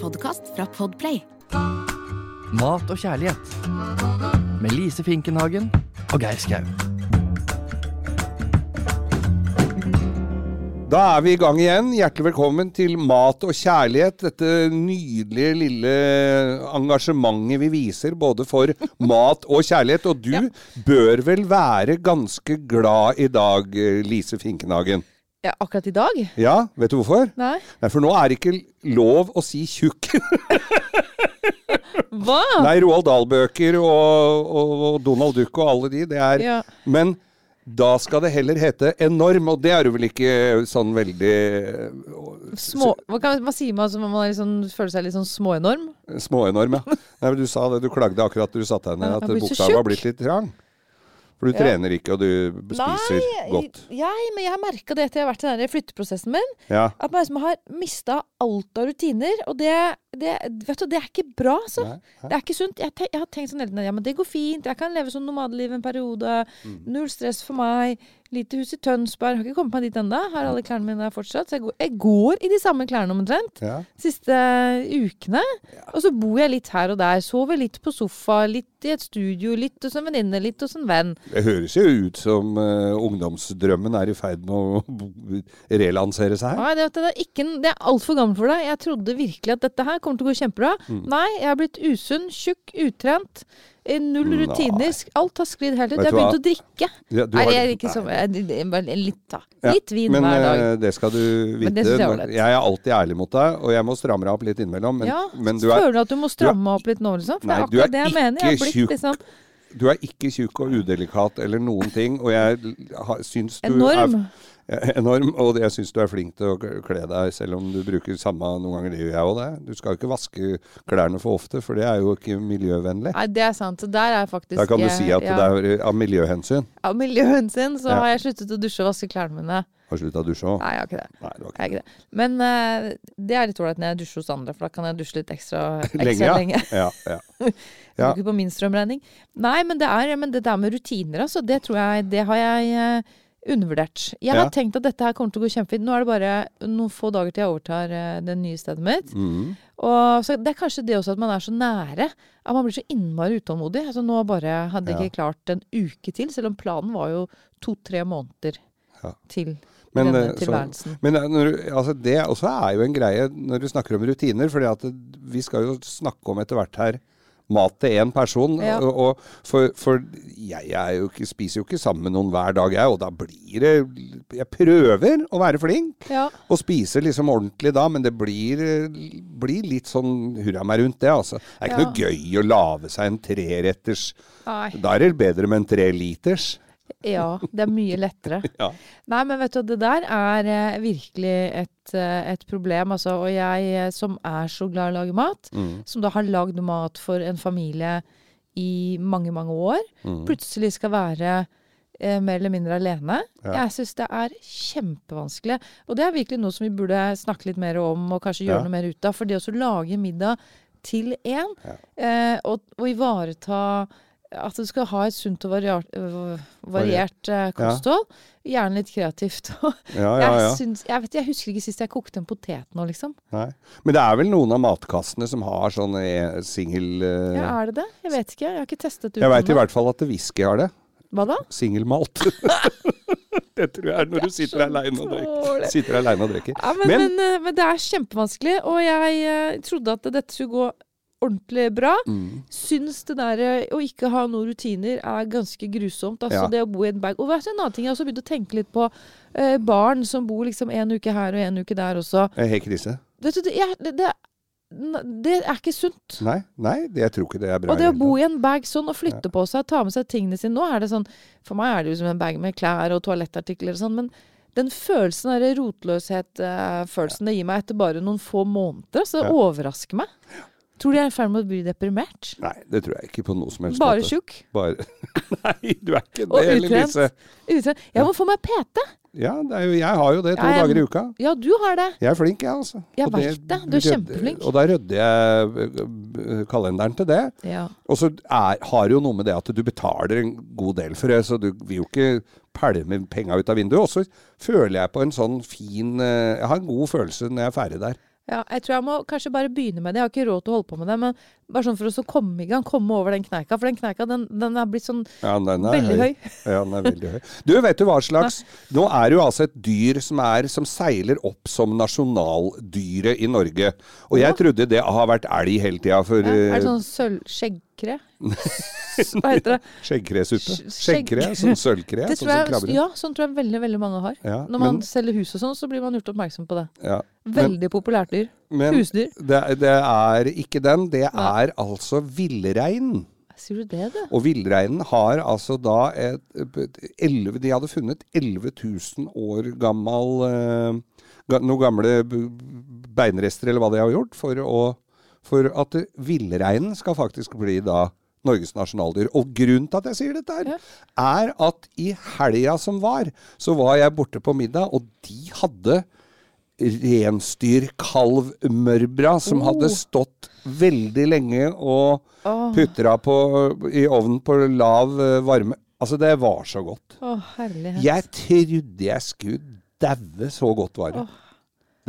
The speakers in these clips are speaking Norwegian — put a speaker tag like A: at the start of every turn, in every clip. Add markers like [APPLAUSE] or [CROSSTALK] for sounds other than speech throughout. A: podkast fra Podplay.
B: Mat og kjærlighet. Med Lise Finkenhagen og Geir Skau.
C: Da er vi i gang igjen. Hjertelig velkommen til Mat og kjærlighet. Dette nydelige lille engasjementet vi viser både for mat og kjærlighet. Og du bør vel være ganske glad i dag, Lise Finkenhagen.
D: Ja, akkurat i dag?
C: Ja, vet du hvorfor?
D: Nei.
C: Nei, for nå er det ikke lov å si tjukk.
D: Hva?
C: Nei, Roald Dahl-bøker og, og, og Donald Duck og alle de. Det er
D: Ja.
C: Men da skal det heller hete enorm, og det er du vel ikke sånn veldig
D: Små, hva, kan, hva sier man som om man er litt sånn- føler seg litt sånn småenorm? [LAUGHS]
C: Småenorm, ja. Nei, men du sa det, du klagde akkurat da du satte deg ned,
D: Ja,
C: at
D: jeg blir så
C: buksa var
D: tjukk.
C: blitt litt trang. For du
D: Ja.
C: trener ikke, og du spiser
D: Nei,
C: godt.
D: Jeg, men jeg har merka det etter jeg har vært i den der flytteprosessen min.
C: Ja.
D: At man liksom har mista alt av rutiner. Og det, det, vet du, det er ikke bra, altså.
C: Nei, nei.
D: Det er ikke sunt. Jeg, te, jeg har tenkt sånn hele tiden ja, men det går fint. Jeg kan leve sånn nomadeliv en periode.
C: Mm.
D: Null stress for meg. Lite hus i Tønsberg. Har ikke kommet meg dit ennå. Har alle klærne mine der fortsatt. Så jeg går, jeg går i de samme klærne omtrent.
C: Ja.
D: siste ukene. Og så bor jeg litt her og der. Sover litt på sofa, litt i et studio, litt hos en venninne, litt hos en venn.
C: Det høres jo ut som eh, ungdomsdrømmen er i ferd med å [LAUGHS] b- relansere seg her.
D: Nei, det, det er, ikke en- det er altfor gammel for deg. Jeg trodde virkelig at dette her kommer til å gå kjempebra.
C: Mm.
D: Nei, jeg har blitt usunn, tjukk, utrent. eh, Null
C: Nei.
D: rutiner. sk- Alt har sklidd helt ut.
C: Vet
D: Jeg har
C: du hva?
D: begynt å drikke.
C: Ja, du
D: Nei,
C: har-
D: det er ikke så
C: Nei.
D: jeg- det- det er bare Litt, da.
C: Ja,
D: Litt vin
C: Men
D: hver dag.
C: eh, det skal du
D: Men
C: vite.
D: det synes jeg var
C: Når-
D: lett.
C: jeg er alltid ærlig mot deg, og jeg må stramme deg opp litt innimellom. Men,
D: ja,
C: men du, er,
D: Føler du at du må
C: du er-
D: stramme opp litt nå, liksom? For
C: Nei, du
D: det er
C: er
D: akkurat det jeg mener. Jeg har
C: ikke
D: blitt
C: tjukk.
D: liksom
C: du er ikke tjukk og udelikat eller noen ting, og jeg l- har- syns du er
D: enorm.
C: [LAUGHS] enorm, og jeg syns du er flink til å k- kle deg, selv om du bruker samme noen ganger. Det gjør jeg òg, det. Du skal jo ikke vaske klærne for ofte, for det er jo ikke miljøvennlig.
D: Nei, det er sant. Så der er faktisk
C: Da kan du
D: jeg-
C: si at
D: ja.
C: det er av miljøhensyn.
D: av miljøhensyn så
C: Ja.
D: har jeg sluttet å dusje og vaske klærne mine.
C: Har slutta å dusje òg?
D: Nei, jeg har ikke det.
C: Nei, det var
D: Jeg
C: ikke
D: har ikke det. Men eh, det er litt ålreit når jeg dusjer hos andre, for da kan jeg dusje litt ekstra
C: [LAUGHS]
D: ekstra
C: Lenge, ja.
D: lenge.
C: ja,
D: [LAUGHS]
C: ja.
D: Det
C: Ja.
D: går Ikke på min strømregning. Nei, men det, er, men det der med rutiner, altså, det tror jeg Det har jeg eh, undervurdert. Jeg
C: Ja.
D: har tenkt at dette her kommer til å gå kjempefint. Nå er det bare noen få dager til jeg overtar eh, det nye stedet mitt.
C: Mhm.
D: Og så Det er kanskje det også at man er så nære. At man blir så innmari utålmodig. Altså Nå bare hadde jeg ikke klart en uke til, selv om planen var jo to-tre måneder
C: Ja.
D: til
C: Men, eh,
D: denne
C: så-
D: tilværelsen.
C: Men eh, når, du- altså, det også er jo en greie når du snakker om rutiner, for vi skal jo snakke om etter hvert her mat til én person.
D: Ja.
C: Og, og for for jeg, er jo ikke, spiser jo ikke sammen med noen hver dag, jeg, og da blir det Jeg prøver å være flink.
D: Ja.
C: Og spise liksom ordentlig da, men det blir, eh, blir litt sånn hurra meg rundt det, altså. Det er ikke noe gøy å lage seg en treretters.
D: Nei.
C: Da er det bedre med en treliters.
D: ja, det er mye lettere.
C: Ja.
D: Nei, men vet du, det der er eh, virkelig et, eh, et problem, altså. Og jeg eh, som er så glad i å lage mat, som da har lagd mat for en familie i mange, mange år, plutselig skal være eh, mer eller mindre alene. Jeg syns det er kjempevanskelig. Og det er virkelig noe som vi burde snakke litt mer om, og kanskje gjøre
C: Ja.
D: noe mer ut av. For det å så lage middag til én, eh, og, og ivareta at du skal ha et sunt og variert, øh, variert eh, kosthold. Gjerne litt kreativt. [LAUGHS]
C: Ja, ja, ja.
D: Jeg, syns, jeg, vet, jeg husker ikke sist jeg kokte en potet nå, liksom.
C: Nei. Men det er vel noen av matkassene som har sånn eh, singel eh,
D: Ja, er det det? Jeg vet ikke. Jeg har ikke testet ut
C: Jeg veit i
D: ennå.
C: hvert fall at whisky har det.
D: Hva da? [LAUGHS]
C: Singelmalt. det tror jeg er når du sitter aleine og drikker.
D: dårlig.
C: Sitter alene og drikker.
D: Ja, men,
C: Men-
D: men, eh, men det er kjempevanskelig, og jeg eh, trodde at dette skulle gå ordentlig bra.
C: Mm.
D: Syns det der eh, å ikke ha noen rutiner er ganske grusomt. Altså
C: Ja.
D: det å bo i en bag. Og vet du en annen ting jeg har også begynt å tenke litt på? Eh, barn som bor liksom en uke her og en uke der også.
C: Eh, Helt krise.
D: Vet du, det, jeg, det, det, n- det er ikke sunt.
C: Nei, nei, det- jeg tror ikke det er bra.
D: Og det
C: i
D: å
C: hele
D: bo i en bag sånn og flytte på seg, ta med seg tingene sine Nå er det sånn For meg er det jo som en bag med klær og toalettartikler og sånn, men den følelsen, den rotløshet-følelsen det gir meg etter bare noen få måneder, så det overrasker meg. Tror du jeg er i ferd med å bli deprimert?
C: tatt. Nei, det tror jeg ikke på noe som helst
D: Bare
C: måte.
D: tjukk
C: Bare [LAUGHS] Nei, du er ikke
D: og
C: det,
D: utrent.
C: Lise.
D: utrent. Jeg må få meg PT!
C: Ja, det er jo, jeg har jo det to
D: Ja, jeg-
C: dager i uka.
D: Ja, du har det.
C: Jeg er flink, jeg, altså.
D: Jeg
C: Og
D: vet det. Du er
C: rødde-
D: kjempeflink.
C: Og da rydder jeg eh, kalenderen til det.
D: Ja.
C: Og så er, har jo noe med det at du betaler en god del for det, så du vil jo ikke pælme penga ut av vinduet. Og så føler jeg på en sånn fin eh, Jeg har en god følelse når jeg er ferdig der.
D: Ja, jeg tror jeg må kanskje bare begynne med det. Jeg har ikke råd til å holde på med det, men bare sånn for oss å komme i gang, komme over den kneika. For den kneika, den, den er blitt sånn
C: Ja, den er
D: veldig høy.
C: [LAUGHS] Ja, den er veldig høy. Du, vet du hva slags Nå er det jo altså et dyr som, er, som seiler opp som nasjonaldyret i Norge. Og jeg trodde det har vært elg hele tida for eh,
D: Ja, er
C: ja,
D: det sånn sølv...
C: [LAUGHS]
D: Skjeggkre? Hva heter det?
C: skjeggkresuppe.
D: Skjegg-
C: Skjeggkre, sånn sølvkre,
D: [LAUGHS] det
C: sånn som
D: tror jeg,
C: krabber.
D: ja, sånn tror jeg veldig veldig mange har.
C: Ja,
D: Når man
C: men-
D: selger hus og sånn, så blir man gjort oppmerksom på det.
C: Ja. Men-
D: Veldig populært dyr.
C: Men
D: Husdyr.
C: det, det er ikke den, det er altså villreinen.
D: Sier du det, du?
C: Og villreinen har altså da et, et 11, De hadde funnet 11 000 år gammel eh, ga- Noen gamle b- beinrester, eller hva de har gjort, for, å, for at villreinen skal faktisk bli da Norges nasjonaldyr. Og grunnen til at jeg sier dette, her, er at i helga som var, så var jeg borte på middag, og de hadde Reinsdyrkalvmørbra som
D: Oh.
C: hadde stått veldig lenge og
D: Åh.
C: putra på, i ovnen på lav eh, varme. Altså, det var så godt.
D: Å, herlighet.
C: Jeg trodde jeg skulle daue, så godt var det.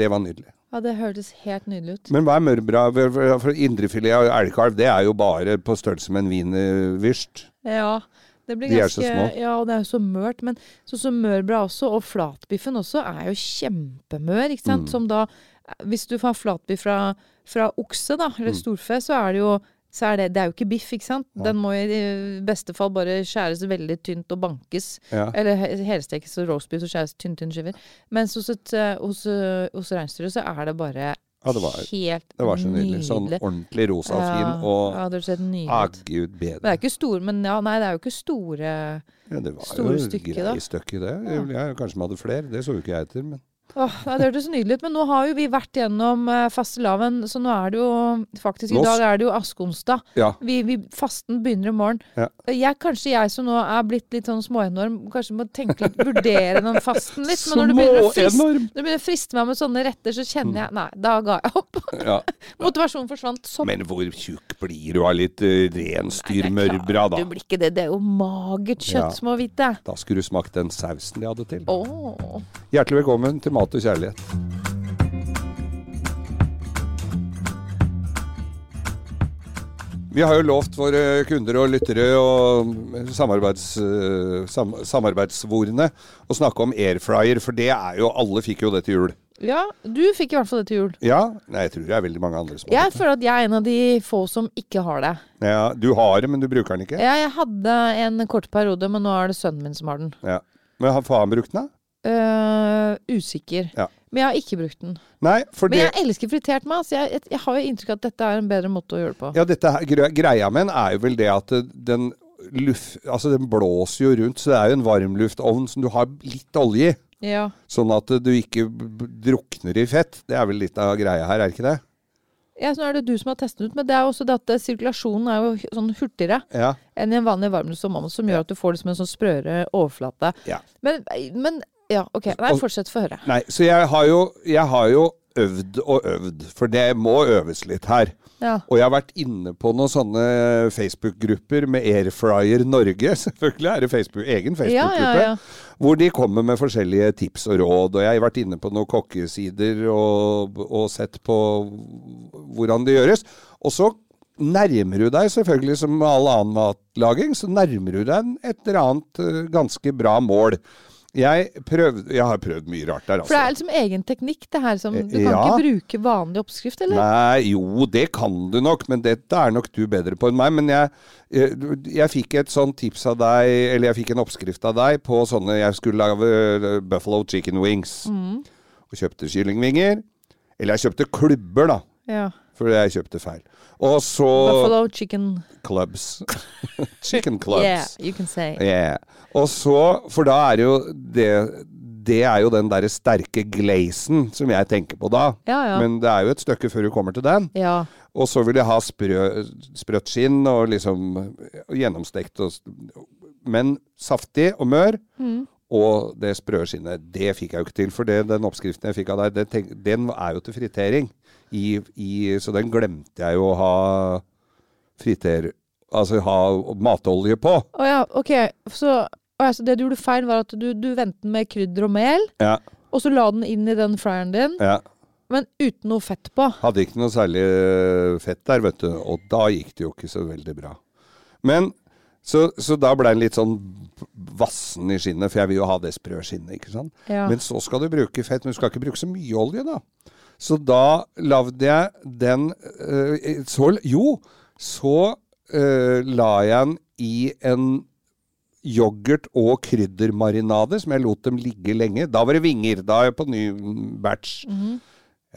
C: Det var nydelig.
D: Ja, det hørtes helt nydelig ut.
C: Men hva er mørbra? For- for- for Indrefilet av elgkalv, det er jo bare på størrelse med en wienerwürst.
D: Ja, det blir
C: De er
D: ganske,
C: så små.
D: Ja, og det er jo så mørt. Men sånn som mørbra også, og flatbiffen også, er jo kjempemør. ikke
C: Mm.
D: sant? Som da, Hvis du får flatbiff fra, fra okse, da,
C: Mm.
D: eller storfe, så er det jo så er det, det er jo ikke biff, ikke sant? Den må i beste fall bare skjæres veldig tynt og bankes.
C: Ja.
D: Eller he- helstekes og roastbeef og skjæres tynne, tynne skiver. Mens hos, et, eh, hos, eh, hos reinsdyret så er det bare
C: Ja, det var-
D: helt
C: Det var så nydelig. Sånn ordentlig rosa fin og
D: ja, det ser nydelig
C: ah,
D: ut.
C: gud
D: Men det
C: bedre.
D: er ikke store, men ja, nei, det er jo ikke store
C: Ja, det var
D: store
C: jo et
D: stykke, da.
C: grei stykke, det. Ja, kanskje man hadde flere. Det så jo ikke jeg etter, men
D: Åh, nei, Det hørtes nydelig ut, men nå har jo vi vært gjennom eh, fastelavn, så nå er det jo faktisk
C: Nå
D: I
C: s-
D: dag er det jo askeonsdag.
C: Ja.
D: Vi, vi, fasten begynner i morgen.
C: Ja.
D: Jeg, kanskje jeg som nå er blitt litt sånn småenorm, kanskje må tenke litt, vurdere den fasten litt. Men når det begynner å friste,
C: Småenorm!
D: når det begynner å friste meg med sånne retter, så kjenner jeg Nei, da ga jeg opp. [LAUGHS]
C: Ja.
D: Motivasjonen forsvant som
C: Men hvor tjukk blir du av litt uh, reinsdyrmørbra,
D: Nei, det er klart
C: da?
D: Du blir ikke det. Det er jo magert
C: Ja.
D: kjøtt, må vite.
C: Da skulle du smakt den sausen de hadde til.
D: Åh.
C: Hjertelig velkommen til Mat og kjærlighet. Vi har jo lovt våre kunder og lyttere og samarbeids, eh, sam, samarbeidsvorene å snakke om airfryer, for det er jo Alle fikk jo det til jul.
D: Ja, du fikk i hvert fall det til jul.
C: Ja? Nei, jeg tror det er veldig mange andre som har
D: Jeg føler at jeg er en av de få som ikke har det.
C: det. Ja, du har det, men du bruker den ikke?
D: Ja, jeg hadde en kort periode, men nå er det sønnen min som har den.
C: Ja. Men har faen brukt den, da?
D: Øh, usikker.
C: Ja.
D: Men jeg har ikke brukt den.
C: Nei, for
D: Men
C: det
D: jeg elsker fritert mat, så jeg, jeg har jo inntrykk av at dette er en bedre måte å gjøre det på.
C: Ja, dette her, gre- greia med den er jo vel det at eh, den luft, altså den blåser jo rundt, så det er jo en varmluftovn som du har litt olje i.
D: Ja.
C: Sånn at eh, du ikke b- b- drukner i fett. Det er vel litt av greia her, er ikke det?
D: Ja, så nå er det du som har testet den ut, men det er jo også det at eh, sirkulasjonen er jo hu- sånn hurtigere
C: Ja.
D: enn i en vanlig varmluftsovn, som gjør at du får liksom en sånn sprøere overflate.
C: Ja.
D: Men, men ja, ok. Nei,
C: Og-
D: fortsett få høre.
C: Nei, så jeg har jo, jeg har jo øvd og øvd, for det må øves litt her.
D: Ja.
C: Og jeg har vært inne på noen sånne Facebook-grupper med Airfryer Norge. [LAUGHS] Selvfølgelig er det Facebook, egen
D: Ja,
C: Facebook-gruppe.
D: ja, ja.
C: Hvor de kommer med forskjellige tips og råd. Og jeg har vært inne på noen kokkesider og, og sett på hvordan det gjøres. Og så nærmer du deg selvfølgelig, som med all annen matlaging, så nærmer du deg en- et eller annet eh, ganske bra mål. Jeg, prøvde, jeg har prøvd mye rart der, altså.
D: For det er liksom egen teknikk, det her. Som, du kan
C: Ja.
D: ikke bruke vanlig oppskrift, eller?
C: Nei, jo, det kan du nok, men dette er nok du bedre på enn meg. Men jeg, jeg, jeg fikk et sånt tips av deg, eller jeg fikk en oppskrift av deg på sånne Jeg skulle lage eh, buffalo chicken wings.
D: Mm.
C: Og kjøpte kyllingvinger. Eller jeg kjøpte klubber, da.
D: Ja.
C: For jeg kjøpte feil. Og så
D: Buffalo chicken.
C: clubs. [LAUGHS] chicken clubs.
D: Yeah, you can say.
C: Yeah. Og så, for da er jo det Det er jo den derre sterke glazen som jeg tenker på da.
D: Ja, ja.
C: Men det er jo et stykke før du kommer til den.
D: Ja.
C: Og så vil jeg ha sprø, sprøtt skinn og liksom og gjennomstekt. Og, men saftig og mør. Og det sprø skinnet, det fikk jeg jo ikke til. For det, den oppskriften jeg fikk av deg, det tenk, den er jo til fritering. I, i, så den glemte jeg jo å ha friter... Altså ha matolje på.
D: Å ja, ok. Så, å ja, så det du gjorde feil, var at du, du vendte den med krydder og mel,
C: Ja,
D: og så la den inn i den fryeren din,
C: ja.
D: Men uten noe fett på.
C: Hadde ikke noe særlig eh, fett der, vet du. Og da gikk det jo ikke så veldig bra. Men så, så da ble den litt sånn vassen i skinnet, for jeg vil jo ha det sprø skinnet, ikke sant.
D: Ja.
C: Men så skal du bruke fett, men du skal ikke bruke så mye olje, da. Så da lagde jeg den eh, så, Jo, så eh, la jeg den i en yoghurt og kryddermarinade, som jeg lot dem ligge lenge. Da var det vinger. Da er jeg på ny batch.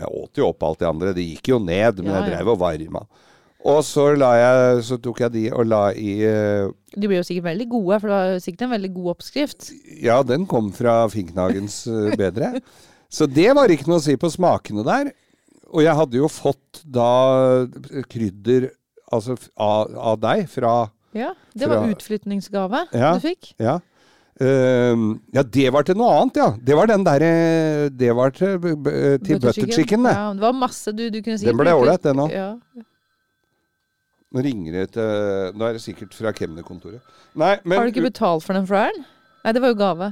C: Jeg åt jo opp alt det andre. Det gikk jo ned, men
D: Mhm. Ja,
C: jeg
D: ja.
C: drev og varma. Og så, la jeg, så tok jeg de og la i eh,
D: De blir jo sikkert veldig gode, for det var jo sikkert en veldig god oppskrift.
C: Ja, den kom fra Finknagens eh, bedre. Så det var ikke noe å si på smakene der. Og jeg hadde jo fått da krydder altså, f- av, av deg fra
D: Ja, Det var
C: Fra-
D: utflytningsgave
C: Ja.
D: du fikk.
C: Ja. Ehm, ja, det var til noe annet, ja. Det var den derre Det var til, eh, b- b- til butter chicken, det.
D: Ja, det var masse du, du kunne sikkert
C: Den ble
D: bruke-
C: ålreit, den òg.
D: Ja.
C: Nå ringer det til Nå er det sikkert fra kemnerkontoret. Nei, men
D: Har du ikke betalt for den fryeren? Nei, det var jo gave.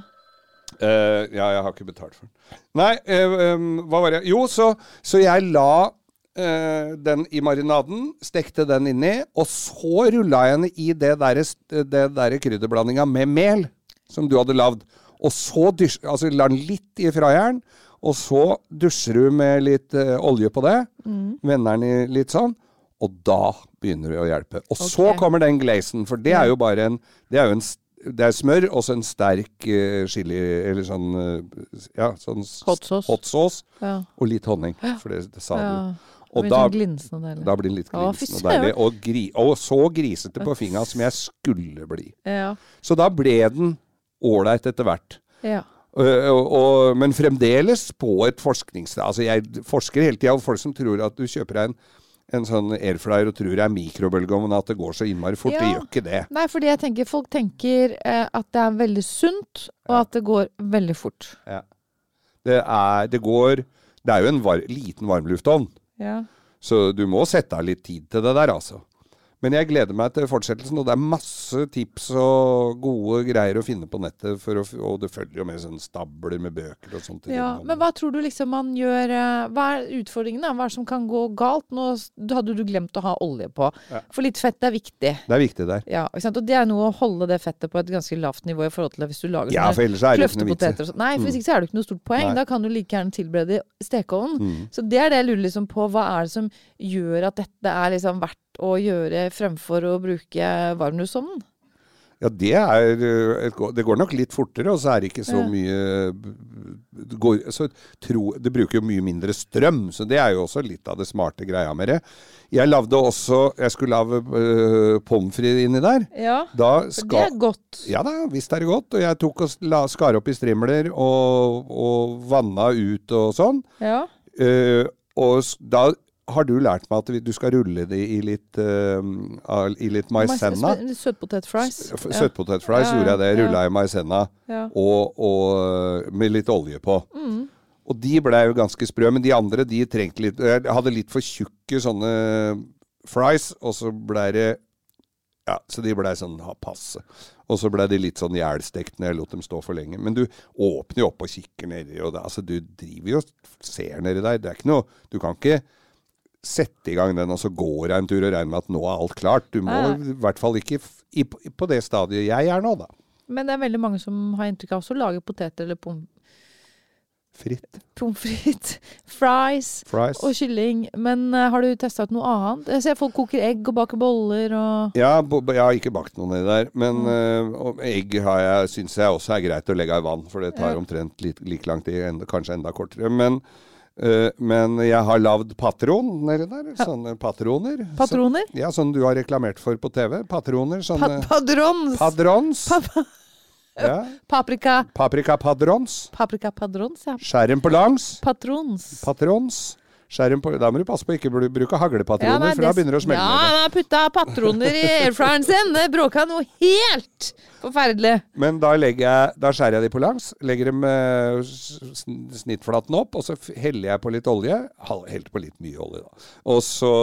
C: Eh, ja, jeg har ikke betalt for den. Nei, eh, em, hva var det Jo, så, så jeg la eh, den i marinaden, stekte den inni, og så rulla jeg den i det derre der derre krydderblandinga med mel som du hadde lagd. Og så dysj, altså, la den litt i frajern, og så dusjer du med litt eh, olje på det. Vender den i litt sånn. Og da begynner det å hjelpe. Og så
D: Ok.
C: kommer den glazen, for det er jo bare en Det er jo en s- det er smør og så en sterk eh, chili Eller sånn eh, Ja, sånn s-
D: Hot sauce.
C: hot sauce
D: Ja.
C: og litt honning, for det, det sa
D: ja.
C: du. Og da,
D: sånn glinsende deilig.
C: da blir den litt
D: Å, fy
C: glinsende og deilig.
D: søren.
C: Og, gri, og så grisete på fingra som jeg skulle bli.
D: Ja.
C: Så da ble den ålreit etter hvert.
D: ja.
C: Øh, og, og, men fremdeles på et forskningssted. Altså jeg forsker hele tida, og folk som tror at du kjøper deg en, en sånn airflyer og tror det er mikrobølgeovn, men at det går så innmari fort. Det
D: Ja.
C: gjør ikke det.
D: Nei, fordi jeg tenker folk tenker eh, at det er veldig sunt, og at det går veldig fort.
C: Det er, det går, det er jo en var, liten varmluftovn,
D: Ja.
C: så du må sette av litt tid til det der, altså. Men jeg gleder meg til fortsettelsen, og det er masse tips og gode greier å finne på nettet. For å, f- og det følger jo med sånn stabler med bøker og sånt.
D: Men hva tror du liksom man gjør eh, Hva er utfordringen, da? Hva er det som kan gå galt? Nå s- hadde du glemt å ha olje på.
C: Ja.
D: For litt fett er viktig.
C: Det er viktig der.
D: Ja, ikke sant? Og det er noe å holde det fettet på et ganske lavt nivå i forhold til hvis du lager
C: Ja,
D: sånne
C: for ellers er det ikke noe vits. i. Mm.
D: kløftepoteter og sånn. Nei, for hvis ikke så er det ikke noe stort poeng.
C: Nei.
D: Da kan du like gjerne tilberede det i stekeovnen.
C: Mm.
D: Så det er det jeg lurer liksom på. Hva er det som gjør at dette er liksom verdt å gjøre fremfor å bruke varmluftsovnen?
C: Ja, det er ø, et, gå- Det går nok litt fortere, og så er det ikke så
D: Ja.
C: mye det, går, så tro, det bruker jo mye mindre strøm, så det er jo også litt av det smarte greia med det. Jeg lagde også Jeg skulle lage ø, pommes frites inni der.
D: Ja,
C: Da
D: for det
C: skal
D: er godt.
C: ja da, visst er det godt. Og jeg tok og s- la, skar opp i strimler og, og vanna ut og sånn.
D: Ja.
C: Eh, og s- da har du lært meg at vi- du skal rulle det i litt, uh, i litt maisenna.
D: Søtpotetfries.
C: S- f- Søtpotetfries
D: Ja, ja,
C: gjorde jeg det.
D: ja.
C: Rulla i maisenna
D: Ja.
C: og, og med litt olje på. Og de blei jo ganske sprø, men de andre de trengte litt Jeg hadde litt for tjukke sånne fries, og så blei det ja, Så de blei sånn ha, passe. Og så blei de litt sånn jævlstekt når jeg lot dem stå for lenge. Men du åpner jo opp og kikker nedi, og det, altså, du driver jo og ser nedi der. Det er ikke noe Du kan ikke sette i gang den, og så går jeg en tur og regner med at nå er alt klart. Du må
D: Nei,
C: i hvert fall ikke f- i, på det stadiet jeg er nå, da.
D: Men det er veldig mange som har inntrykk av også å lage poteter eller pom-
C: Fritt.
D: pommes frites, [LAUGHS] fries
C: Fries.
D: og kylling. Men eh, har du testa ut noe annet? Jeg ser folk koker egg og baker boller og
C: Ja, bo- bo- jeg har ikke bakt noe nedi der. Men
D: Mm.
C: eh, og egg har jeg, syns jeg også er greit å legge i vann, for det tar omtrent litt, like lang tid, enda- kanskje enda kortere. Men, eh, men jeg har lagd patron nedi der. Sånne patroner.
D: Patroner?
C: Så, ja, sånn du har reklamert for på TV. Patroner.
D: Pa
C: Sånne
D: padrons!
C: padrons. [LAUGHS] ja.
D: paprika.
C: Paprika padrons.
D: Paprika padrons, ja.
C: Skjæren på langs.
D: Patrons.
C: Patrons. Skjæren på Da må du passe på å ikke bru- bruke haglepatroner,
D: nei,
C: for da begynner det å smelle.
D: Ja,
C: med det.
D: han har putta patroner i airfryeren sin! Det bråka noe helt forferdelig.
C: Men da, legger jeg, da skjærer jeg de på langs, legger dem eh, s- s- snittflaten opp, og så f- heller jeg på litt olje. Hal- Helt på litt mye olje, da. Og så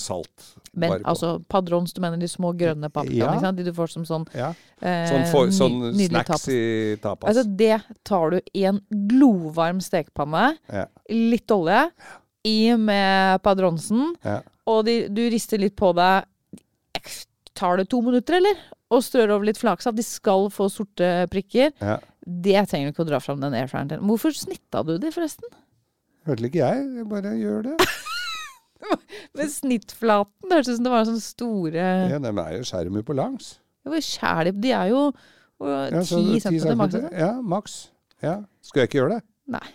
C: salt.
D: Men
C: bare på.
D: altså, padrons, du mener de små grønne paprikaene?
C: Ja.
D: ikke sant? De du får som sånn,
C: ja.
D: eh,
C: Sånn, for,
D: ny-
C: sånn
D: nydelig
C: snacks
D: tapas.
C: i tapas.
D: Altså, det tar du i en glovarm stekepanne,
C: ja.
D: litt olje, i med padronsen,
C: Ja.
D: og de, du rister litt på deg Tar det to minutter, eller? Og strør over litt flaksaft. De skal få sorte prikker.
C: Ja.
D: Det trenger du ikke å dra fram den airfryeren til. Hvorfor snitta du de, forresten?
C: Hørte ikke jeg. Jeg bare gjør det.
D: Med snittflaten. Det hørtes ut som det var sånne store
C: Ja, de er jo skjermer på langs.
D: Hvor skjærer de De er jo øh,
C: Ja, så
D: ti
C: ti
D: centimeter altså? maks.
C: centimeter. Ja, maks. Ja. Skulle jeg ikke gjøre det?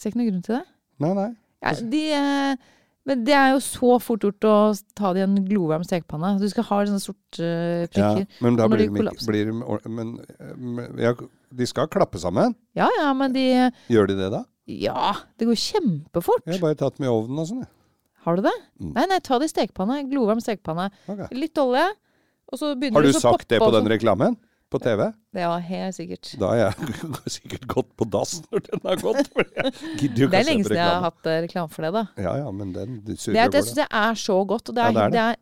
D: Ser ikke noen grunn til det.
C: Nei, nei.
D: Ja, de, eh, men det er jo så fort gjort å ta det i en glovarm stekepanne. Du skal ha sånne sorte
C: Ja,
D: eh, prikker.
C: men da
D: Og når
C: blir
D: de
C: de, ikke-
D: kollapser.
C: blir de or- men, eh, men, ja, De skal klappe sammen.
D: Ja. ja, men de
C: Gjør de det da?
D: Ja, det går kjempefort.
C: Jeg har bare tatt dem i ovnen og sånn. jeg.
D: Har du det?
C: Mm.
D: Nei, nei, ta det i stekepanne. Glovarm stekepanne.
C: Ok.
D: Litt olje. Og så begynner
C: Har du
D: så
C: sagt det på
D: poppe
C: den
D: og sånn.
C: reklamen? På TV?
D: Ja, helt sikkert.
C: Da har jeg [LAUGHS] sikkert gått på dass når den har gått. for jeg Gidder jo ikke
D: Det
C: å
D: er
C: se
D: lenge
C: på
D: siden jeg har
C: reklame.
D: hatt eh, reklame for det, da.
C: Ja, ja, men den du
D: Det,
C: surrer
D: er-
C: over
D: jeg
C: det.
D: syns det er så godt, og det er,
C: Ja, det
D: det
C: er
D: er,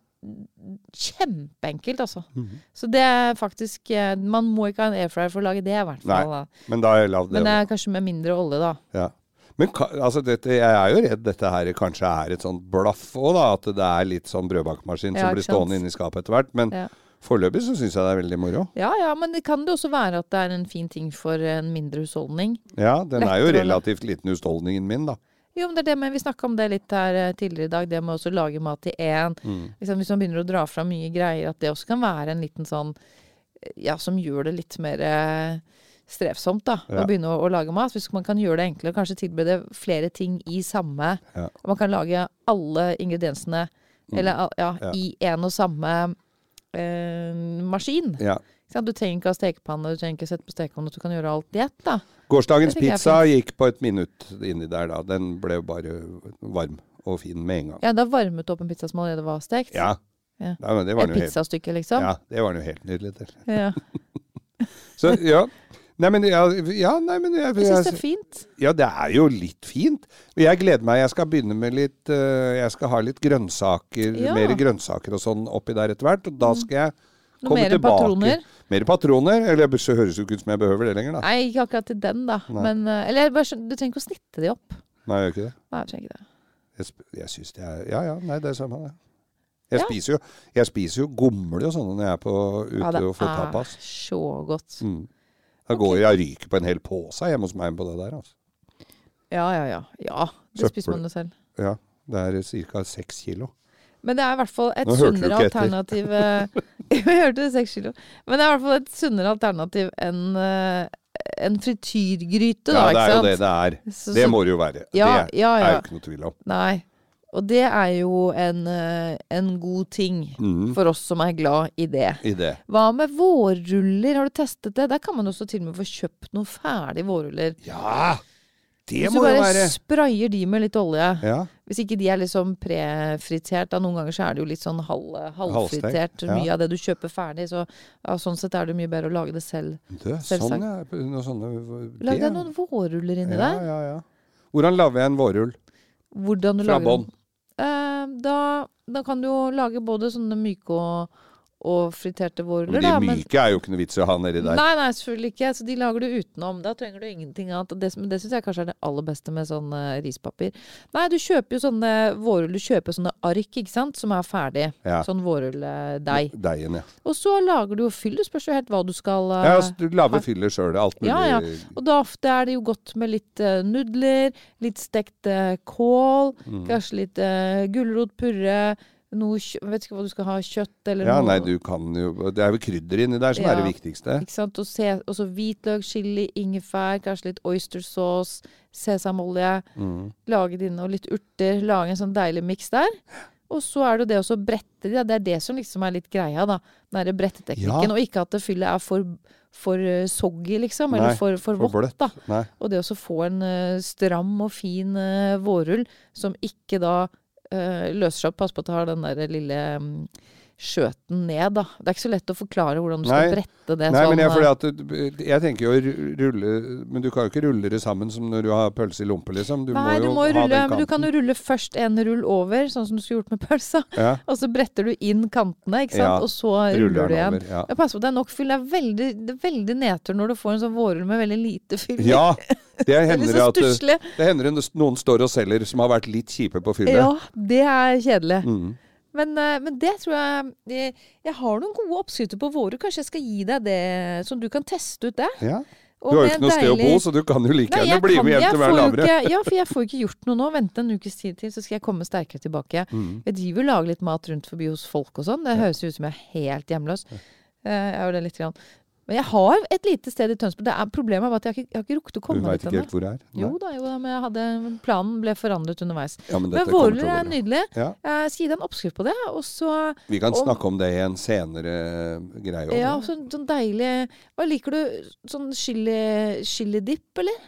D: kjempeenkelt, altså.
C: Mhm.
D: Så det er faktisk eh, Man må ikke ha en airfryer for å lage det, i hvert
C: Nei,
D: fall. da.
C: Men da har jeg lagd det.
D: Men eh, det er kanskje med mindre olje, da.
C: Ja. Men ka- altså, dette, jeg er jo redd dette her kanskje er et sånt blaff òg, da. At det er litt sånn brødbakemaskin
D: Ja,
C: som blir
D: ikke sant?
C: stående inni skapet etter hvert. Men
D: Ja.
C: foreløpig så syns jeg det er veldig moro.
D: Ja ja, men det kan det også være at det er en fin ting for en mindre husholdning.
C: Ja, den er jo
D: Lettere å la-
C: relativt liten husholdningen min, da.
D: Jo, men det er det med, Vi snakka om det litt her eh, tidligere i dag, det med også å lage mat til én.
C: Mm.
D: Liksom, hvis man begynner å dra fra mye greier, at det også kan være en liten sånn eh, Ja, som gjør det litt mer eh, strevsomt, da.
C: Ja.
D: Å begynne å, å lage mat. Hvis man kan gjøre det enklere, og kanskje tilby det flere ting i samme.
C: Ja. Mm.
D: Og man kan lage alle ingrediensene eller, al- ja,
C: Ja.
D: i en og samme eh, maskin.
C: Ja.
D: Ikke sant? Du trenger ikke ha stekepanne, du trenger ikke sette på stekeovn, at du kan gjøre alt i ett. da.
C: Gårsdagens
D: Det tenker jeg er
C: pizza gikk på et minutt inni der, da. Den ble jo bare varm og fin med en gang.
D: Ja, Da varmet du opp en pizza som allerede var stekt.
C: Ja.
D: Ja.
C: Nei, men det var
D: Et
C: den jo helt,
D: pizzastykke, liksom.
C: ja, det var den jo helt nydelig til.
D: Ja.
C: [LAUGHS] Så ja. Nei, men, ja, ja, nei, men jeg,
D: Jeg
C: jeg-
D: syns det er fint.
C: Ja, det er jo litt fint. Men Jeg gleder meg. Jeg skal begynne med litt eh, Jeg skal ha litt grønnsaker,
D: Ja.
C: mer grønnsaker og sånn oppi der etter hvert. Og da skal jeg
D: Noe
C: komme
D: mer
C: tilbake.
D: patroner?
C: Mer patroner. Eller det høres jo ikke ut som jeg behøver det lenger, da.
D: Nei, ikke akkurat til den, da.
C: Nei.
D: Men, eh, eller jeg bare, skjønner- du trenger ikke å snitte de opp.
C: Nei, jeg gjør ikke det.
D: Nei, jeg trenger ikke det.
C: Jeg, sp jeg syns det er Ja ja, nei, det er samme det. Jeg,
D: Ja.
C: spiser jo, jeg spiser jo gomle og sånne når jeg er på, ute
D: Ja, det
C: og får
D: er
C: tapas.
D: så godt.
C: Mm. Da går jeg og ryker på en hel pose hjemme hos meg på det der. altså.
D: Ja, ja, ja. ja det
C: Søppel.
D: spiser man jo selv.
C: Ja, Det er ca. seks kilo.
D: Men det er i hvert fall et
C: Nå hørte du
D: sunnere
C: ikke etter.
D: alternativ eh, [LAUGHS] Jeg hørte det, seks kilo. Men det er i hvert fall et sunnere alternativ enn eh, en frityrgryte,
C: Ja,
D: da.
C: det
D: ikke
C: er jo
D: sant?
C: det det er.
D: Så-
C: Det
D: så-
C: må det jo være.
D: Ja,
C: det
D: ja,
C: er
D: ja.
C: jo ikke noe tvil om.
D: Nei. Og det er jo en, eh, en god ting
C: Mm.
D: for oss som er glad i det.
C: I det.
D: Hva med vårruller? Har du testet det? Der kan man også til og med få kjøpt noen ferdige vårruller.
C: Ja! Det
D: Hvis du
C: må jo
D: bare
C: være
D: sprayer de med litt olje.
C: ja,
D: Hvis ikke de er liksom prefritert, da noen ganger så er det jo litt sånn halv, halvfritert.
C: ja.
D: Mye av det du kjøper ferdig, så ja, sånn sett er det mye bedre å lage det selv.
C: det,
D: Selvsagt.
C: sånn ja. Noe sånne,
D: Lag deg noen vårruller inni
C: ja,
D: der.
C: ja, ja. Hvordan lager jeg en vårrull?
D: Hvordan du
C: Fra
D: lager
C: bånn.
D: den. Eh, da, da kan du jo lage både sånne myke og, og friterte vårruller.
C: De
D: da, men-
C: myke er jo ikke noe vits i å ha nedi der.
D: Nei, nei, selvfølgelig ikke. Så de lager du utenom. Da trenger du ingenting annet. Og Det, som- det syns jeg kanskje er det aller beste med sånn eh, rispapir. Nei, du kjøper jo sånne vårrull, du kjøper sånne ark, ikke sant, som er ferdig.
C: Ja.
D: Sånn vårrulldeig.
C: Deigen, ja.
D: Og så lager du jo fyll. Det spørs jo helt hva du skal eh,
C: Ja, altså, du lager fyller sjøl. Alt mulig.
D: ja, ja. Og da ofte er det jo godt med litt eh, nudler, litt stekt eh, kål,
C: Mm.
D: kanskje litt uh, gulrot, purre, noe kjø Vet ikke hva du skal ha, kjøtt eller
C: Ja,
D: noe
C: nei, du kan jo Det er jo krydder inni der som er det
D: Ja.
C: viktigste.
D: Ikke sant? Og se, også hvitløk, chili, ingefær, kanskje litt oyster sauce, sesamolje.
C: Mm.
D: Lage dine og litt urter. Lage en sånn deilig miks der. Og så er det jo det også å brette de. da. Det er det som liksom er litt greia, da. Den derre bretteteknikken.
C: Ja.
D: Og ikke at det fyllet er for, for eh, soggy, liksom.
C: Nei,
D: Eller for, for,
C: for
D: vått,
C: bløtt.
D: da.
C: Nei.
D: Og det også å få en eh, stram og fin eh, vårrull som ikke da eh, løser seg opp. Pass på at du har den der lille mm, skjøten ned, da. Det er ikke så lett å forklare hvordan du
C: Nei.
D: skal brette det.
C: Nei,
D: sånn,
C: men jeg,
D: eh,
C: fordi at, du- jeg tenker jo ru- rulle Men du kan jo ikke rulle det sammen som når du har pølse i lompe, liksom. Du
D: Nei,
C: må
D: du
C: jo
D: må jo
C: ha
D: rulle,
C: den
D: men du kan jo
C: kanten.
D: rulle først en rull over, sånn som du skulle gjort med pølsa. [LAUGHS]
C: ja,
D: Og så bretter du inn kantene, ikke sant?
C: Ja,
D: og så
C: ruller
D: ruller du
C: den
D: igjen.
C: over. Ja.
D: Ja, pass på, [LAUGHS] det er nok fyll. Det er veldig, det er veldig nedtur når du får en sånn vårrull med veldig lite fyll.
C: Ja, Det
D: Det er
C: hender
D: litt så
C: at eh,
D: stusslig.
C: det hender det noen står og selger som har vært litt kjipe på fyllet.
D: Ja, det er kjedelig.
C: Mm.
D: Men, eh, men det tror jeg jeg- Jeg har noen gode oppskrifter på våre. Kanskje jeg skal gi deg det, så du kan teste ut det.
C: Ja.
D: Og
C: Du har jo
D: med
C: ikke noe sted å
D: deilig-
C: bo, så du kan jo like
D: Nei,
C: gjerne
D: jeg
C: bli
D: kan-
C: med hjem
D: jeg
C: til hver
D: får jo
C: lavere.
D: ikke- Ja, for jeg får jo ikke gjort noe nå. Vente en ukes tid til, så skal jeg komme sterkere tilbake.
C: Mm.
D: Jeg driver og lager litt mat rundt forbi hos folk og sånn. Det høres jo ut som jeg er helt hjemløs. Eh, Jeg er jo det litt grann. Men jeg har et lite sted i Tønsberg. Det er problemet er bare at jeg har ikke, jeg har ikke rukket å
C: Du
D: komme meg
C: veit
D: dit
C: ikke
D: ennå.
C: helt hvor det er. Nei.
D: Jo da, jo da, men jeg hadde, planen ble forandret underveis.
C: Ja, men
D: Men
C: dette kommer
D: Våler
C: til å
D: er
C: gå bra.
D: nydelig.
C: Ja.
D: Jeg skal gi deg en oppskrift på det. Og så
C: Vi kan
D: Om-
C: snakke om det i en senere eh, greie.
D: Ja,
C: Også.
D: og sånn, sånn deilig Hva liker du? Sånn chili, chilidipp, eller?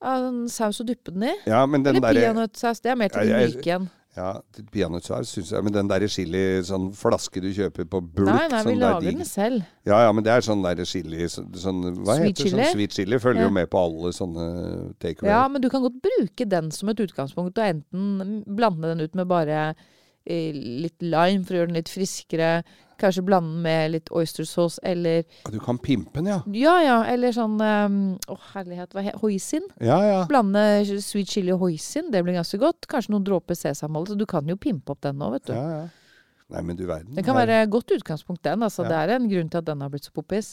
D: Av en saus å dyppe den i?
C: Ja, men den
D: eller
C: derre
D: peanøttsaus? Det er mer til
C: Ja,
D: din
C: jeg-
D: myke igjen.
C: ja, peanøttsaus syns jeg Men den derre chili, sånn flaske du kjøper på bulk
D: Nei, nei, vi
C: sånn der
D: lager
C: digg.
D: den selv.
C: Ja, ja, men det er sånn derre chili så- sånn, Hva
D: Sweet
C: heter
D: chili?
C: sånn sweet chili? Følger
D: Ja.
C: jo med på alle sånne takeaway.
D: Ja, men du kan godt bruke den som et utgangspunkt, og enten blande den ut med bare eh, litt lime for å gjøre den litt friskere. Kanskje blande den med litt oyster sauce, eller
C: Du kan pimpe den, ja.
D: Ja ja, eller sånn ehm, Å, herlighet, hva he- hoisin?
C: Ja, ja.
D: Blande sweet chili og hoisin, det blir ganske godt. Kanskje noen dråper sesamolje, så du kan jo pimpe opp den nå, vet du.
C: ja, ja. Nei, men du verden.
D: Den kan
C: Her-
D: være godt utgangspunkt, den. altså.
C: Ja.
D: Det er en grunn til at den har blitt så poppis.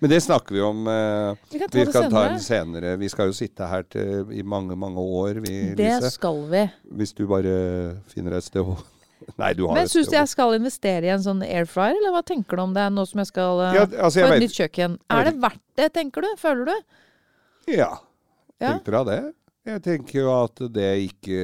C: Men det snakker vi om. eh,
D: Vi kan ta
C: vi
D: det
C: kan ta en
D: senere.
C: senere. Vi skal jo sitte her til, i mange, mange år, vi,
D: Det
C: Lise.
D: skal vi.
C: Hvis du bare finner et sted å [LAUGHS] Nei, du har
D: Men
C: et
D: syns du
C: å-
D: jeg skal investere i en sånn air fryer, eller hva tenker du om det nå som jeg skal eh,
C: ja, altså,
D: på
C: jeg
D: et
C: vet,
D: nytt kjøkken?
C: jeg
D: Er
C: vet
D: det verdt det, tenker du? Føler du?
C: Ja.
D: Ja.
C: Tenk dere av det. Jeg tenker jo at det ikke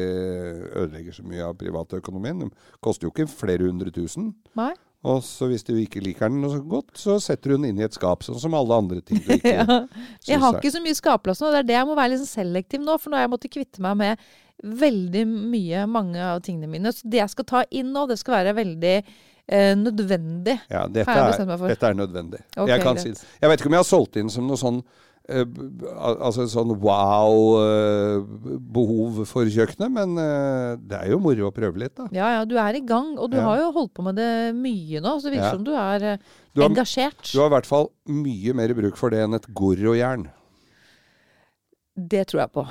C: ødelegger så mye av privatøkonomien. Det koster jo ikke flere hundre tusen.
D: Nei?
C: Og så hvis du ikke liker den noe så godt, så setter du den inn i et skap, sånn som alle andre ting du
D: [LAUGHS]
C: ikke
D: Jeg
C: syns
D: har
C: er-
D: ikke så mye skapplass nå, og det er det jeg må være litt sånn selektiv nå, for nå har jeg måttet kvitte meg med veldig mye, mange av tingene mine. Så det jeg skal ta inn nå, det skal være veldig eh, nødvendig.
C: Ja, dette
D: Har jeg
C: er,
D: bestemt meg for.
C: dette er nødvendig.
D: Ok,
C: jeg, kan si,
D: greit.
C: det. jeg vet ikke om jeg har solgt inn som noe sånn eh, b- al- Altså sånn wow-behov for kjøkkenet, men eh, det er jo moro å prøve litt, da.
D: Ja ja, du er i gang, og du
C: Ja.
D: har jo holdt på med det mye nå, så det virker
C: Ja.
D: som du er eh,
C: Du har-
D: engasjert.
C: Du har i hvert fall mye mer bruk for det enn et gorrojern.
D: Det tror jeg på.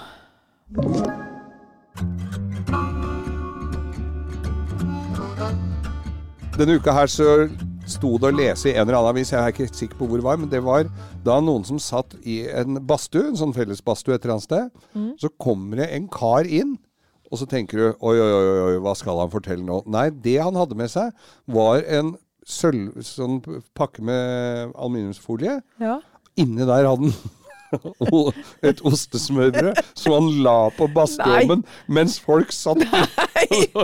C: Denne uka her så sto det å lese i en eller annen avis, jeg er ikke helt sikker på hvor det var, men det var da noen som satt i en badstue, en sånn fellesbadstue et eller annet sted. Så kommer det en kar inn, og så tenker du oi, oi, oi, oi, hva skal han fortelle nå? Nei, det han hadde med seg var en sølv, sånn pakke med aluminiumsfolie.
D: Ja.
C: Inni der hadde han [LAUGHS] o- et ostesmørbrød som han la på badstueovnen mens folk satt [LAUGHS] og,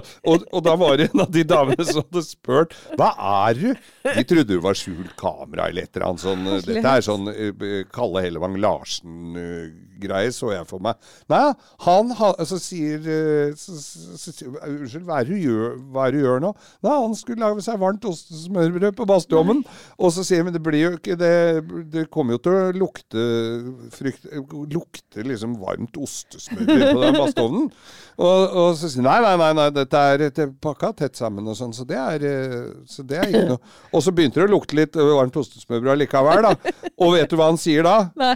C: og da var det en av de damene som hadde spurt Hva er du? De trodde det var skjult kamera eller et eller annet sånn. eh, Dette er sånn eh, Kalle Hellevang Larsen-greie, så jeg for meg. Nei, han ha, så sier eh, så, så, så, sier- Unnskyld, hva er det du gjør, hva er det du gjør nå? Nei, han skulle lage seg varmt ostesmørbrød på badstueovnen. Og så sier jeg, men det blir jo ikke det Det kommer jo til å lukte frykt, Lukte liksom varmt ostesmørbrød på den
D: [LAUGHS]
C: badstueovnen. Og, og så sier de, nei, nei, nei, nei, dette er et pakka tett sammen og sånn, så det er, eh, så det er ikke noe. Og så begynte det å lukte litt eh, varmt ostesmørbrød likevel, da.
D: [LAUGHS]
C: Og vet du hva han sier da?
D: Nei.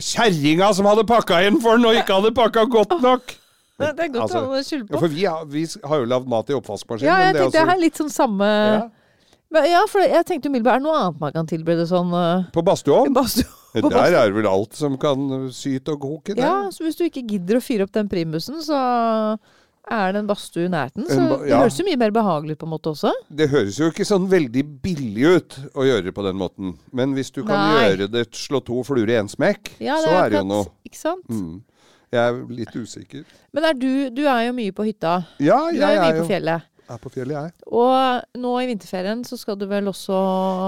C: Kjerringa som hadde pakka inn for den og ikke hadde pakka godt nok!
D: Det er godt
C: Altså,
D: å ha noe å skylde
C: Ja,
D: på.
C: for vi har, vi har jo lagd mat i oppvaskmaskinen.
D: Ja, jeg
C: men det er
D: tenkte jeg
C: altså-
D: har litt sånn samme
C: Ja.
D: Men ja, for jeg tenkte umiddelbart, er det noe annet man kan tilberede sånn eh,
C: På badstueovn?
D: badstue?
C: [LAUGHS]
D: på
C: Der er det vel alt som kan syte og koke. der.
D: Ja, så hvis du ikke gidder å fyre opp den primusen, så er det en badstue i nærheten. Så
C: En ba-
D: det
C: ja.
D: høres jo mye mer behagelig ut på en måte også.
C: Det høres jo ikke sånn veldig billig ut å gjøre det på den måten, men hvis du kan
D: Nei.
C: gjøre det, slå to fluer i én smekk,
D: Ja,
C: så er det jo
D: akkurat-
C: noe.
D: Ikke sant?
C: Mm. Jeg er litt usikker.
D: Men er du, du er jo mye på hytta.
C: Ja,
D: Du
C: jeg
D: er jo
C: er
D: mye
C: jo
D: på fjellet.
C: er på fjellet, jeg.
D: Og nå i vinterferien så skal du vel også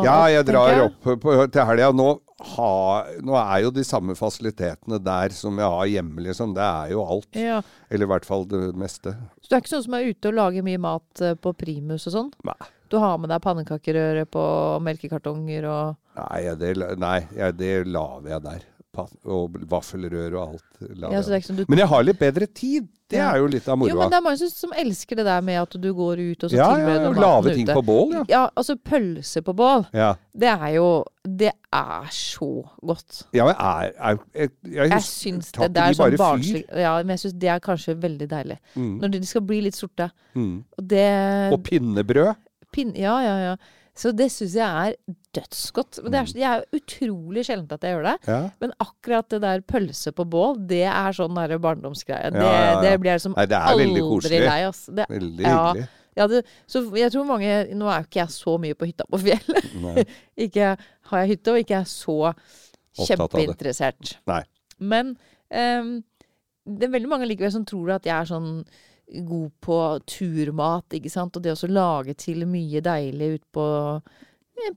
C: Ja, jeg
D: tenker
C: drar opp på, til helga. Nå, har- nå er jo de samme fasilitetene der som jeg har hjemme, liksom. Det er jo alt.
D: Ja.
C: Eller i hvert fall det meste.
D: Så du er ikke sånn som er ute og lager mye mat eh, på primus og sånn?
C: Nei.
D: Du har med deg pannekakerøre på melkekartonger og
C: Nei, jeg- det, la- nei jeg, det laver jeg der. pat- og vaffelrør og alt. la
D: Ja, så det er ikke sånn du
C: Men jeg har litt bedre tid. Det
D: Ja.
C: er jo litt av
D: Jo, men
C: moroa.
D: det er mange som, som elsker det der med at du går ut og så
C: Ja, ja,
D: tilbereder
C: ja,
D: du maten
C: lave ting
D: ute.
C: på bål, ja.
D: Ja, altså pølse på bål.
C: ja.
D: Det er jo Det er så godt.
C: Ja, men er, er, jeg, jeg,
D: Jeg
C: husker-
D: syns
C: tar ikke
D: det, det
C: de
D: er sånn
C: bare fyr?
D: barnslig Ja, men jeg syns det er kanskje veldig deilig.
C: Mm,
D: Når de skal bli litt sorte.
C: mm.
D: Og det
C: Og pinnebrød.
D: pin, Ja, ja, ja. Så det syns jeg er dødsgodt. Men det
C: Mm.
D: er, så- det er utrolig sjeldent at jeg gjør det.
C: Ja.
D: Men akkurat det der pølse på bål, det er sånn derre barndomsgreie. Det,
C: ja, ja.
D: det blir jeg liksom
C: Nei, det er veldig
D: aldri
C: koselig.
D: lei, ass. Det
C: Veldig
D: Ja.
C: hyggelig.
D: Ja, det, så jeg tror mange Nå er jo ikke jeg så mye på hytta på fjellet.
C: Nei.
D: [LAUGHS] ikke har jeg hytte, og ikke er så
C: av det.
D: kjempeinteressert.
C: Nei.
D: Men ehm, det er veldig mange likevel som tror at jeg er sånn god på turmat, ikke sant. Og det å så lage til mye deilig utpå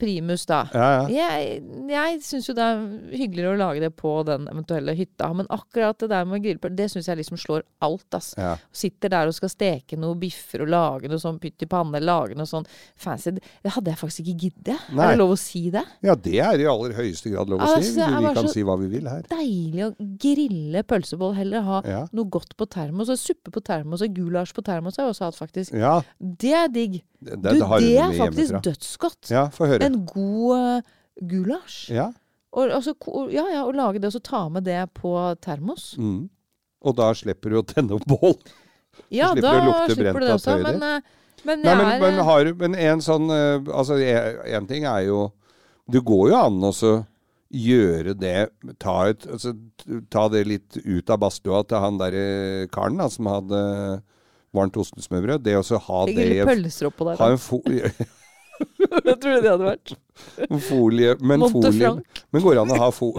D: primus, da.
C: Ja, ja.
D: [LAUGHS] Jeg, jeg syns jo det er hyggeligere å lage det på den eventuelle hytta, men akkurat det der med grillpølse, det syns jeg liksom slår alt, ass.
C: Ja.
D: Sitter der og skal steke noe biffer og lage noe sånn pytt i panne, lage noe sånn fancy. Det hadde jeg faktisk ikke giddet.
C: Nei.
D: Er det lov å si det?
C: ja, det er i aller høyeste grad lov å si.
D: Altså,
C: Du,
D: jeg
C: vi
D: var
C: kan
D: så-
C: si hva vi vil her.
D: Deilig å grille pølseboll. Heller ha
C: Ja.
D: noe godt på termos. Og suppe på termos og gulasj på termos har jeg også hatt, faktisk.
C: Ja,
D: Det er digg.
C: det,
D: Du,
C: det har
D: det
C: hun
D: er
C: med
D: faktisk
C: hjemmefra.
D: dødsgodt.
C: Ja, få høre.
D: En god eh, gulasj.
C: Ja.
D: Og, og så ko- ja, ja, og lage det og så ta med det på termos.
C: Mm. Og da slipper du å tenne opp bål.
D: Ja,
C: slipper
D: da
C: det å lukte brent
D: slipper du det
C: av
D: også.
C: tøyler.
D: Men, eh, men,
C: Nei, men,
D: jeg er
C: men, har, du- men en sånn eh, Altså, én ting er jo Det går jo an å så gjøre det ta, et, altså, t- ta det litt ut av badstua til han derre karen da, som hadde varmt ostesmørbrød. Det å så ha
D: eh,
C: det i
D: grille
C: en-
D: pølser oppå der.
C: ha en fo
D: [LAUGHS] Jeg tror det hadde vært.
C: folie Men
D: Monte
C: folie
D: Frank.
C: Men går det an å ha fo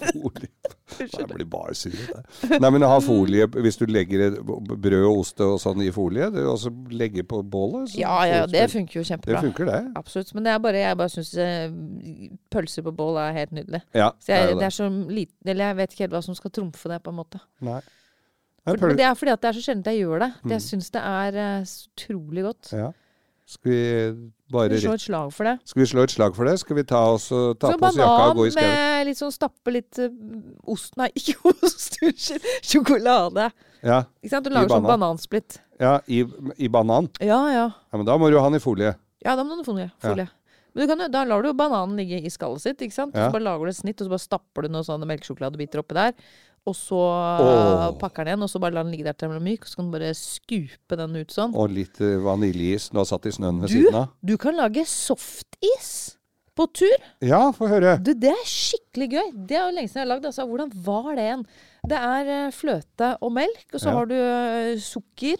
C: folie Jeg blir bare sur. der. Nei, men å ha folie Hvis du legger et brød og ost og sånn i folie, det, og så legge på bålet så
D: Ja, ja, ja,
C: får du
D: det
C: spille.
D: funker jo
C: det
D: kjempebra.
C: funker, det.
D: Absolutt. Men det er bare, jeg bare syns eh, pølser på bål er helt nydelig.
C: Ja,
D: Så jeg,
C: jo
D: det er så lite Eller jeg vet ikke helt hva som skal trumfe det, på en måte.
C: Nei.
D: For, men det er fordi at det er så sjelden jeg gjør det. Det
C: Mm.
D: Jeg syns det er eh, så utrolig godt.
C: ja. Skal vi bare
D: Du slår et slag for det.
C: Skal vi slå et slag for det? Skal vi ta, oss, og- ta
D: Så
C: på oss jakka og
D: banan
C: gå i skauen?
D: med litt sånn stappe litt eh, ost Nei, [LAUGHS] ikke ost, unnskyld. Sjokolade.
C: Ja,
D: Ikke sant? Du
C: I
D: lager sånn
C: banan.
D: banansplitt.
C: ja i, i banan.
D: Ja, ja.
C: Ja, men da må du ha den i folie.
D: Ja, da må du få noe folie. Men du kan, jo- da lar du jo bananen ligge i skallet sitt, ikke sant?
C: Ja.
D: Så bare lager du et snitt, og så bare stapper du noen sånne melkesjokoladebiter oppi der. Og så eh,
C: Åh.
D: pakker den igjen, og så bare lar den ligge der til den blir myk, og så kan du bare skupe den ut sånn.
C: Og litt eh, vaniljeis når du har satt i snøen ved
D: Du?
C: siden av.
D: Du kan lage softis på tur.
C: Ja, få høre.
D: Du, det er skikkelig gøy. Det er jo lenge siden jeg har lagd. Altså, hvordan var det igjen? Det er eh, fløte og melk, og så
C: Ja.
D: har du eh, sukker,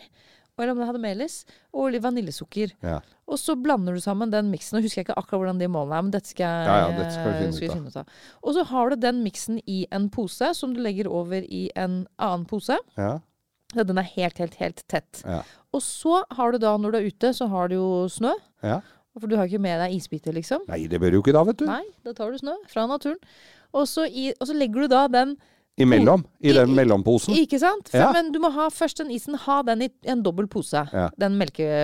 D: eller om det hadde melis, og litt vaniljesukker.
C: Ja.
D: Og så blander du sammen den miksen. Nå husker jeg ikke akkurat hvordan de målene er, men dette skal jeg eh,
C: Ja, ja, dette skal vi finne
D: skal vi
C: ut av.
D: finne ut av. Og så har du den miksen i en pose som du legger over i en annen pose.
C: Ja.
D: Ja, Den er helt, helt, helt tett.
C: Ja.
D: Og så har du da, når du er ute, så har du jo snø.
C: ja.
D: For du har ikke med deg isbiter, liksom.
C: Nei, det bør du ikke da, vet du.
D: Nei, da tar du snø fra naturen. Og så, i, og så legger du da den
C: Imellom. I
D: I-
C: den
D: i-
C: mellomposen.
D: Ikke sant? For,
C: Ja.
D: Men du må ha først den isen, ha den i en dobbel pose.
C: Ja. Mm.
D: Den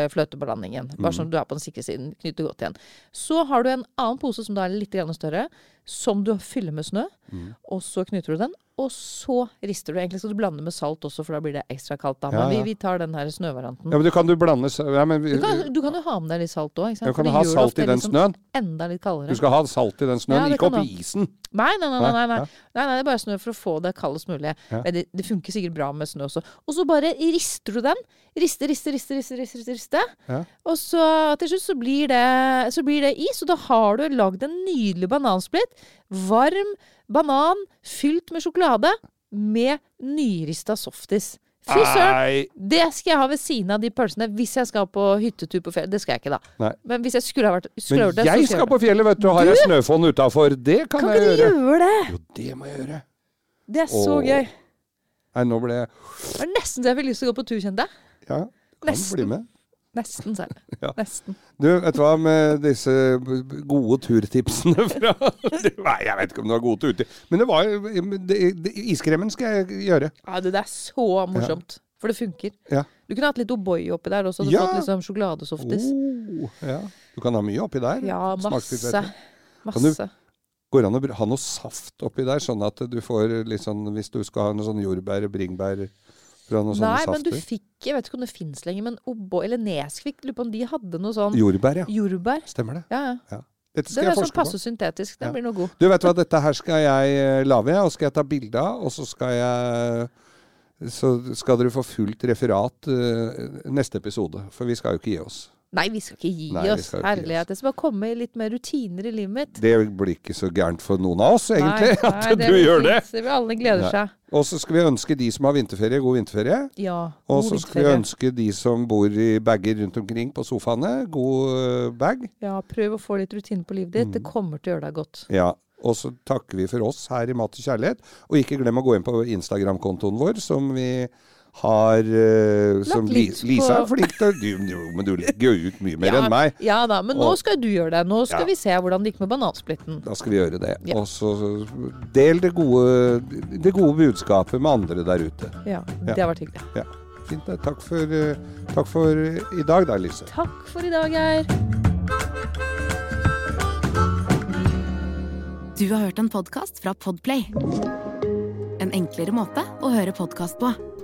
D: melkefløteblandingen. Bare sånn at du er på den sikre siden. Knytter godt igjen. Så har du en annen pose som da er litt grann større, som du fyller med snø.
C: Mm.
D: Og så knytter du den, og så rister du. Egentlig skal du blande med salt også, for da blir det ekstra kaldt. Da.
C: Ja,
D: Men
C: ja.
D: vi, vi tar den her snøvarianten.
C: Ja, men du kan du blande s- ja, men, vi-
D: Du kan, du kan jo ha med deg litt salt òg.
C: Du kan ha salt i den snøen.
D: liksom Enda litt kaldere.
C: Du skal ha salt i den snøen,
D: Ja, det
C: ikke
D: kan
C: oppi
D: du
C: isen.
D: Nei, nei,
C: Nei,
D: nei, nei, nei, nei.
C: ja.
D: nei, nei det er bare snø for å få det kaldest mulig.
C: Ja.
D: Men det, det funker sikkert bra med snø også. Og så bare rister du den. Riste, riste, riste, riste, riste, riste, riste.
C: Ja.
D: Og så til slutt så blir, det, så blir det is, og da har du lagd en nydelig banansplitt. Varm banan fylt med sjokolade med nyrista softis. Fy søren!
C: Nei.
D: Det skal jeg ha ved siden av de pølsene hvis jeg skal på hyttetur på ferie. Det skal jeg ikke, da.
C: Nei.
D: Men hvis jeg skulle ha vært skulle ha
C: Men
D: gjort det, så
C: jeg
D: skulle
C: skal
D: jeg
C: på
D: gjøre det.
C: fjellet, vet du, og har jeg snøfonn utafor. Det kan,
D: Kan
C: jeg
D: ikke du
C: gjøre.
D: gjøre det?
C: Jo, det må jeg gjøre.
D: Det er så
C: Åh.
D: gøy.
C: Nei, nå ble jeg
D: Det var nesten så jeg fikk lyst til å gå på tur, kjente jeg.
C: Ja, kan
D: Nesten.
C: bli med.
D: Nesten, sa jeg.
C: [LAUGHS] Ja.
D: Nesten.
C: Du, vet du hva med disse b- b- gode turtipsene [LAUGHS] fra Nei, jeg vet ikke om det var gode turtips, men det var men det, det, Iskremen skal jeg gjøre.
D: Ja, du, det er så morsomt. For det funker.
C: Ja.
D: Du kunne hatt litt O'boy oppi der også. Du
C: Ja.
D: fått liksom sjokoladesoftis.
C: Oh, ja. Du kan ha mye oppi der.
D: Ja,
C: Smakte litt,
D: masse.
C: vet du. Kan du-
D: Masse.
C: Går det an å br- ha noe saft oppi der, sånn at du får litt sånn Hvis du skal ha noe sånn jordbær, bringebær fra sånn noen
D: Nei,
C: sånne
D: men du
C: safter?
D: fikk Jeg vet ikke om det fins lenger, men Obbo eller Neskvik, lurer på om de hadde noe sånn
C: Jordbær, ja.
D: jordbær.
C: Stemmer det.
D: Ja, ja.
C: Dette
D: Den
C: skal
D: er
C: jeg
D: sånn
C: forske på.
D: passe syntetisk. Den
C: Ja.
D: blir noe god.
C: Du vet hva, dette her skal jeg eh, lage, og skal jeg ta bilde av, og så skal jeg så skal dere få fullt referat eh, neste episode, for vi skal jo ikke gi oss.
D: Nei, vi skal ikke gi
C: Nei, vi
D: oss.
C: skal ikke gi oss.
D: Herlighet. Det skal bare komme litt mer rutiner i livet mitt.
C: Det blir ikke så gærent for noen av oss, egentlig,
D: Nei,
C: [LAUGHS] at
D: nei,
C: du
D: blir
C: gjør det.
D: fint. Det vil alle gleder
C: Nei.
D: seg.
C: Og så skal vi ønske de som har vinterferie, god vinterferie.
D: Ja.
C: Og
D: god
C: så skal vi
D: vinterferie.
C: ønske de som bor i bager rundt omkring på sofaene, god eh, bag.
D: Ja, prøv å få litt rutine på livet ditt. Det
C: Mm.
D: kommer til å gjøre deg godt.
C: Ja. Og så takker vi for oss her i Mat og kjærlighet. Og ikke glem å gå inn på Instagram-kontoen vår, som vi har eh, som Li-
D: litt på-
C: Lisa er flink til. Du, jo, men du legger jo ut mye mer
D: ja,
C: enn meg.
D: Ja da, men nå
C: Og-
D: skal du gjøre det. Nå skal
C: Ja.
D: vi se hvordan det gikk med banansplitten.
C: Da skal vi gjøre det.
D: Ja.
C: Og så del det gode, det gode budskapet med andre der ute.
D: Ja,
C: Ja.
D: det har vært hyggelig.
C: Ja. Fint. det. Takk for, eh, takk for i dag da, Lise.
D: Takk for i dag, Geir.
A: Du har hørt en podkast fra Podplay. En enklere måte å høre podkast på.